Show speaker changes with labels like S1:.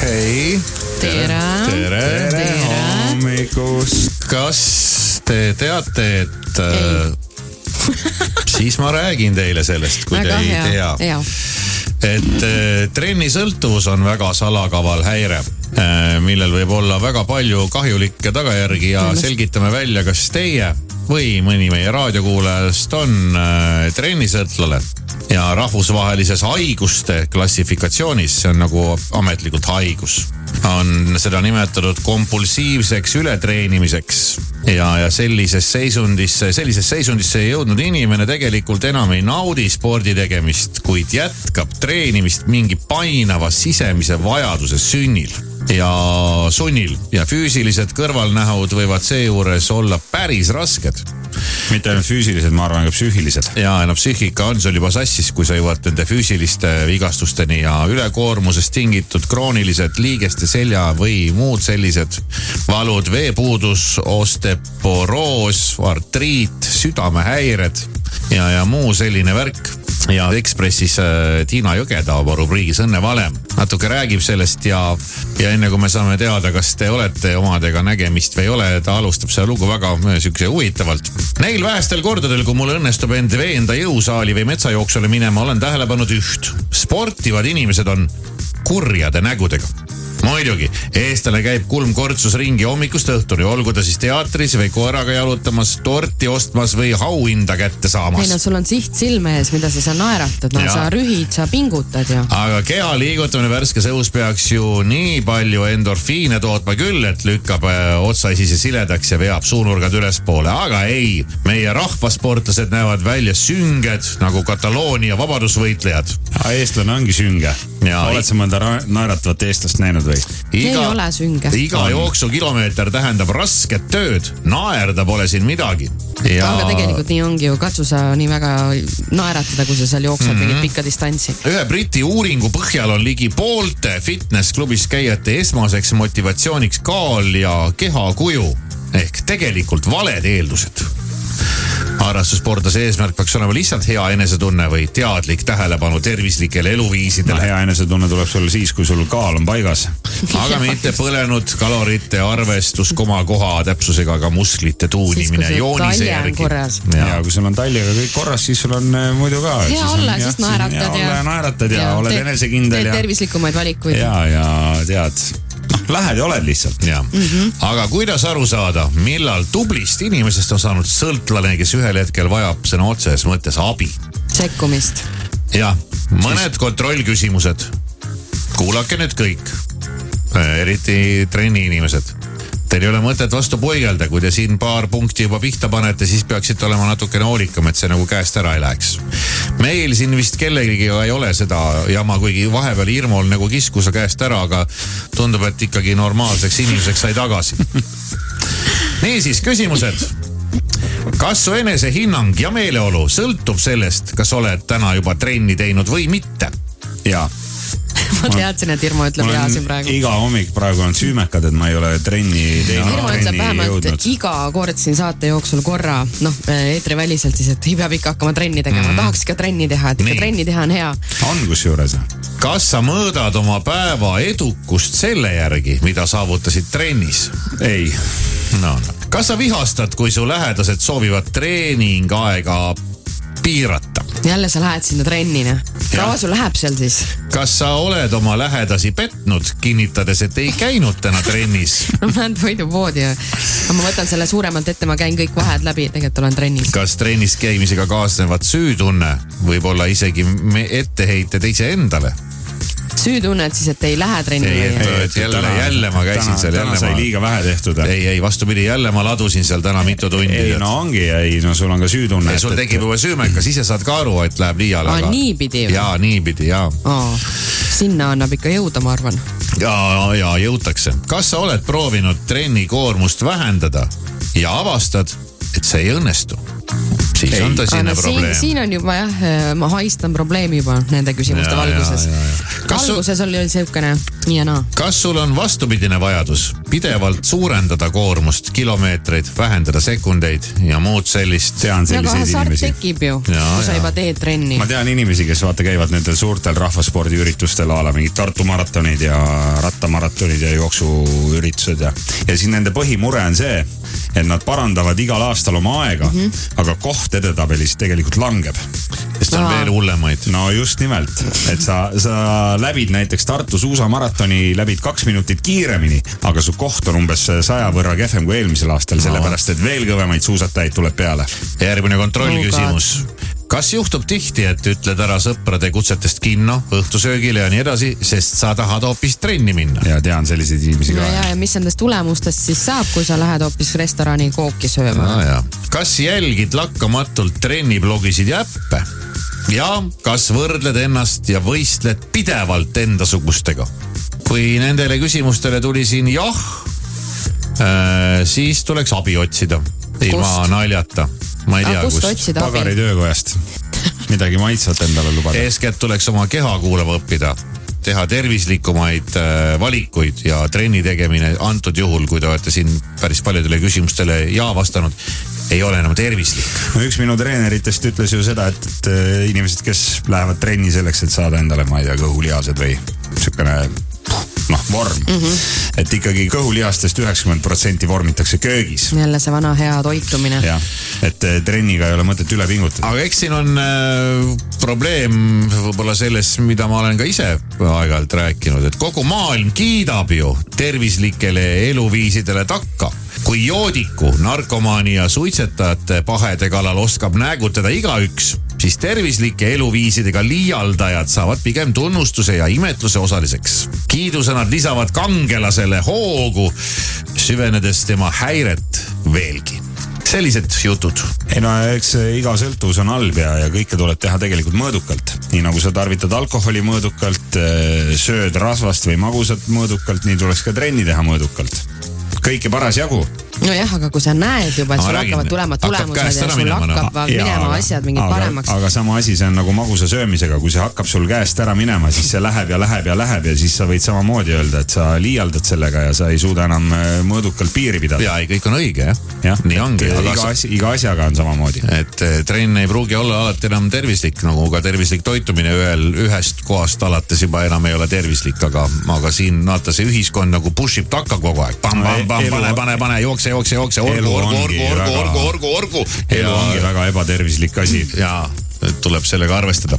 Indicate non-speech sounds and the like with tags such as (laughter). S1: hei ,
S2: tere ,
S3: Ah, tere,
S1: tere
S2: Tere.
S1: hommikust .
S3: kas te teate , et äh, siis ma räägin teile sellest , kui te
S2: väga
S3: ei
S2: hea
S3: tea ,.
S2: ja ,
S3: et äh, trenni sõltuvus on väga salakaval häire äh, , millel võib olla väga palju kahjulikke tagajärgi ja
S2: Kindlasti.
S3: selgitame välja , kas teie või mõni meie raadiokuulajast on äh, trennisõltlane ja rahvusvahelises haiguste klassifikatsioonis , see on nagu ametlikult haigus , on seda nimetatud kompulsiivseks ületreenimiseks ja , ja sellises seisundis , sellises seisundisse jõudnud inimene tegelikult enam ei naudi spordi tegemist , kuid jätkab treenimist mingi painava sisemise vajaduse sünnil ja sunnil ja füüsilised kõrvalnähud võivad seejuures olla päris rasked
S1: mitte ainult füüsilised , ma arvan , ka psüühilised .
S3: ja no psüühika on sul juba sassis , kui sa jõuad nende füüsiliste vigastusteni ja ülekoormusest tingitud kroonilised liigeste selja või muud sellised valud , veepuudus , osteoporoos , artriit , südamehäired ja , ja muu selline värk ja Ekspressis äh, Tiina Jõgeda oma rubriigis Õnnevalem natuke räägib sellest ja , ja enne kui me saame teada , kas te olete omadega nägemist või ei ole , ta alustab seda lugu väga äh, sihukese huvitavalt . Neil vähestel kordadel , kui mul õnnestub end veenda jõusaali või metsajooksule minema , olen tähele pannud üht . sportivad inimesed on kurjade nägudega muidugi , eestlane käib kulmkortsus ringi hommikust õhtuni , olgu ta siis teatris või koeraga jalutamas , torti ostmas või auhinda kätte
S2: ei
S3: saamas
S2: no . sul on siht silme ees , mida sa seal naeratad , no
S3: Ja.
S2: sa rühid , sa pingutad ja .
S3: aga keha liigutamine värskes õhus peaks ju nii palju endorfiine tootma küll , et lükkab äh, otsaisise siledaks ja veab suunurgad ülespoole , aga ei . meie rahvasportlased näevad välja sünged nagu Kataloonia vabadusvõitlejad .
S1: eestlane ongi sünge .
S3: Jaa.
S1: oled sa mõnda ra- naeratavat eestlast näinud või ?
S2: ei ole sünge .
S3: iga jooksukilomeeter tähendab rasket tööd , naerda pole siin midagi .
S2: aga tegelikult nii ongi ju , katsu sa nii väga naeratada , kui sa seal jooksed
S3: Mhm.
S2: mingit mm -hmm. pikka distantsi .
S3: ühe Briti uuringu põhjal on ligi poolte fitness-klubis käijate esmaseks motivatsiooniks kaal ja kehakuju ehk tegelikult valed eeldused . harrastussportlase eesmärk peaks olema lihtsalt hea enesetunne või teadlik tähelepanu tervislikele eluviisidele .
S1: hea enesetunne tuleb sul siis , kui sul kaal on paigas .
S3: aga mitte põlenud kalorite arvestus koma koha täpsusega , aga musklite tuunimine
S2: Siis, kui see
S3: joonise
S2: talje on
S3: järgi
S2: korras. .
S1: ja kui sul on talliga kõik korras , siis sul on äh, muidu ka .
S2: Hea olla, siis naeratad
S1: ja .
S2: ja-
S1: olla ja naeratad ja, ja oled
S2: teed-
S1: enesekindel
S2: teed
S1: ja ,
S2: tervislikumaid valikuid .
S1: ja , ja tead , noh lähed ja oled lihtsalt .
S3: jah mm -hmm. , aga kuidas aru saada , millal tublist inimesest on saanud sõltlane , kes ühel hetkel vajab sõna otseses mõttes abi ?
S2: sekkumist . (laughs)
S3: jah , mõned kontrollküsimused . kuulake nüüd kõik , eriti trenni inimesed . Teil ei ole mõtet vastu puigelda , kui te siin paar punkti juba pihta panete , siis peaksite olema natukene hoolikam , et see nagu käest ära ei läheks . meil siin vist kellelgi ei ole seda jama , kuigi vahepeal Irmol nagu kiskus käest ära , aga tundub , et ikkagi normaalseks inimeseks sai tagasi . niisiis , küsimused kas su enesehinnang ja meeleolu sõltub sellest , kas oled täna juba trenni teinud või mitte ?
S1: jaa
S2: ma teadsin , et Irmo ütleb
S1: mul
S2: jaa siin
S1: on
S2: praegu .
S1: iga hommik praegu on süümekad , et ma ei ole trenni teinud ,
S2: Irmo ütleb
S1: trenni
S2: vähemalt
S1: jõudnud .
S2: iga kord siin saate jooksul korra , noh eetriväliselt siis , et ei pea ikka hakkama trenni tegema mm. , tahaks ikka trenni teha , et ikka
S3: Mhm. Nii.
S2: Nii. trenni teha on hea .
S1: on kusjuures .
S3: kas sa mõõdad oma päeva edukust selle järgi , mida saavutasid trennis ?
S1: ei ,
S3: no , kas sa vihastad , kui su lähedased soovivad treeningaega piirata ?
S2: jälle sa lähed sinna trenni , noh . kaua sul läheb seal siis ? (laughs)
S3: kas sa oled oma lähedasi petnud , kinnitades , et ei käinud täna trennis ?
S2: ma lähen toidupoodi ja aga ma võtan selle suuremalt ette , ma käin kõik vahed läbi , tegelikult olen trennis .
S3: kas trennis käimisega kaasnevad süütunne , võib-olla isegi me- etteheited iseendale ?
S2: süü tunned siis , et ei lähe trenni
S3: Ei,
S2: või ?
S3: et- jälle- jälle ma käisin seal, jälle
S1: täna
S3: ma-
S1: sai liiga vähe tehtud .
S3: ei , ei vastupidi , jälle ma ladusin seal täna mitu tundi .
S1: ei no ongi , ei no sul on ka süütunne
S3: ja . sul tekib juba süümekas , ise saad ka aru , et läheb liiale .
S2: Aa, niipidi või?
S3: ja niipidi ja ,
S2: Oh, sinna annab ikka jõuda , ma arvan .
S3: ja , ja jõutakse . kas sa oled proovinud trenni koormust vähendada ja avastad , et see ei õnnestu ? siis on tõsine
S2: siin,
S3: probleem .
S2: siin on juba jah , ma haistan probleemi juba nende küsimuste
S3: Jaa,
S2: ja, valguses
S3: jaa, jaa, jaa. . Kas su-
S2: alguses oli siukene nii ja naa .
S3: kas sul on vastupidine vajadus pidevalt suurendada koormust , kilomeetreid , vähendada sekundeid ja muud sellist ?
S1: tean
S2: aga
S1: selliseid
S2: hasart
S1: inimesi .
S2: tekib ju ,
S3: Jaa,
S2: kui sa
S3: jaa.
S2: juba teed trenni
S1: ma . tean inimesi , kes vaata käivad nendel suurtel rahvaspordiüritustel a la mingid Tartu maratonid ja rattamaratonid ja jooksuüritused ja . ja siis nende põhimure on see , et nad parandavad igal aastal oma aega mm , -hmm. aga koht edetabelis tegelikult langeb .
S3: sest on
S2: Aa.
S3: veel hullemaid .
S1: no just nimelt , et sa , sa läbid näiteks Tartu suusamaratoni , läbid kaks minutit kiiremini , aga su koht on umbes saja võrra kehvem kui eelmisel aastal , sellepärast et veel kõvemaid suusatajaid tuleb peale .
S3: järgmine kontrollküsimus
S2: Oh
S3: oh kas juhtub tihti , et ütled ära sõprade kutsetest kinno , õhtusöögile ja nii edasi , sest sa tahad hoopis trenni minna ?
S1: ja tean selliseid inimesi
S2: no
S1: ka .
S2: ja , ja mis nendest tulemustest siis saab , kui sa lähed hoopis restorani kooki sööma ?
S3: Ah, kas jälgid lakkamatult trenniblogisid ja äppe ? ja kas võrdled ennast ja võistled pidevalt endasugustega ? kui nendele küsimustele tuli siin jah , siis tuleks abi otsida , ilma
S2: Kust?
S3: naljata . ma ei
S2: Aga
S3: tea ,
S2: kust
S3: kust .
S2: otsida? Seda abi.
S1: pagari töökojast midagi maitsvat endale lubada .
S3: eeskätt tuleks oma keha kuulama õppida , teha tervislikumaid äh, valikuid ja trenni tegemine antud juhul , kui te olete siin päris paljudele küsimustele ja vastanud , ei ole enam tervislik .
S1: no üks minu treeneritest ütles ju seda , et, et äh, inimesed , kes lähevad trenni selleks , et saada endale , ma ei tea , kõhulihased või siukene noh , vorm mm . -hmm. et ikkagi kõhulihastest üheksakümmend protsenti vormitakse köögis .
S2: jälle see vana hea toitumine .
S1: jah , et äh, trenniga ei ole mõtet üle pingutada .
S3: aga eks siin on äh, probleem võib-olla selles , mida ma olen ka ise aeg-ajalt rääkinud , et kogu maailm kiidab ju tervislikele eluviisidele takka kui joodiku , narkomaani ja suitsetajate pahede kallal oskab näägutada igaüks , siis tervislike eluviisidega liialdajad saavad pigem tunnustuse ja imetluse osaliseks . kiidusõnad lisavad kangelasele hoogu , süvenedes tema häiret veelgi . sellised jutud
S1: ei no eks äh, iga sõltuvus on halb ja , ja kõike tuleb teha tegelikult mõõdukalt . nii nagu sa tarvitad alkoholi mõõdukalt , sööd rasvast või magusat mõõdukalt , nii tuleks ka trenni teha mõõdukalt . kõike parasjagu
S2: nojah , aga kui sa näed juba , et
S3: Ma
S2: sul
S3: räägin,
S2: hakkavad tulema
S3: hakkab käest
S2: tulemused ja
S3: ära
S2: sul
S3: minema, noh.
S2: hakkavad
S1: Jaa,
S2: minema asjad mingid
S1: aga,
S2: paremaks .
S1: aga sama asi , see on nagu magusa söömisega , kui see hakkab sul käest ära minema , siis see läheb ja läheb ja läheb ja siis sa võid samamoodi öelda , et sa liialdad sellega ja sa ei suuda enam äh, mõõdukalt piiri pidada .
S3: ja ei , kõik on õige jah ja,
S1: jah ,
S3: nii ongi ,
S1: iga
S3: aga
S1: asi , iga asjaga on samamoodi .
S3: et eh, trenn ei pruugi olla alati enam tervislik , nagu ka tervislik toitumine ühel , ühest kohast alates juba enam ei ole tervislik , aga , aga siin vaata see ühiskond nagu push ib takka kogu aeg .
S1: No e-
S3: pane
S1: elu- ,
S3: pane , pane , jookse , jookse , jookse ,
S1: Elu
S3: orgu , orgu ,
S1: ongi
S3: orgu , orgu ,
S1: väga-
S3: orgu , orgu , orgu .
S1: elu ongi väga ebatervislik asi .
S3: ja tuleb sellega arvestada .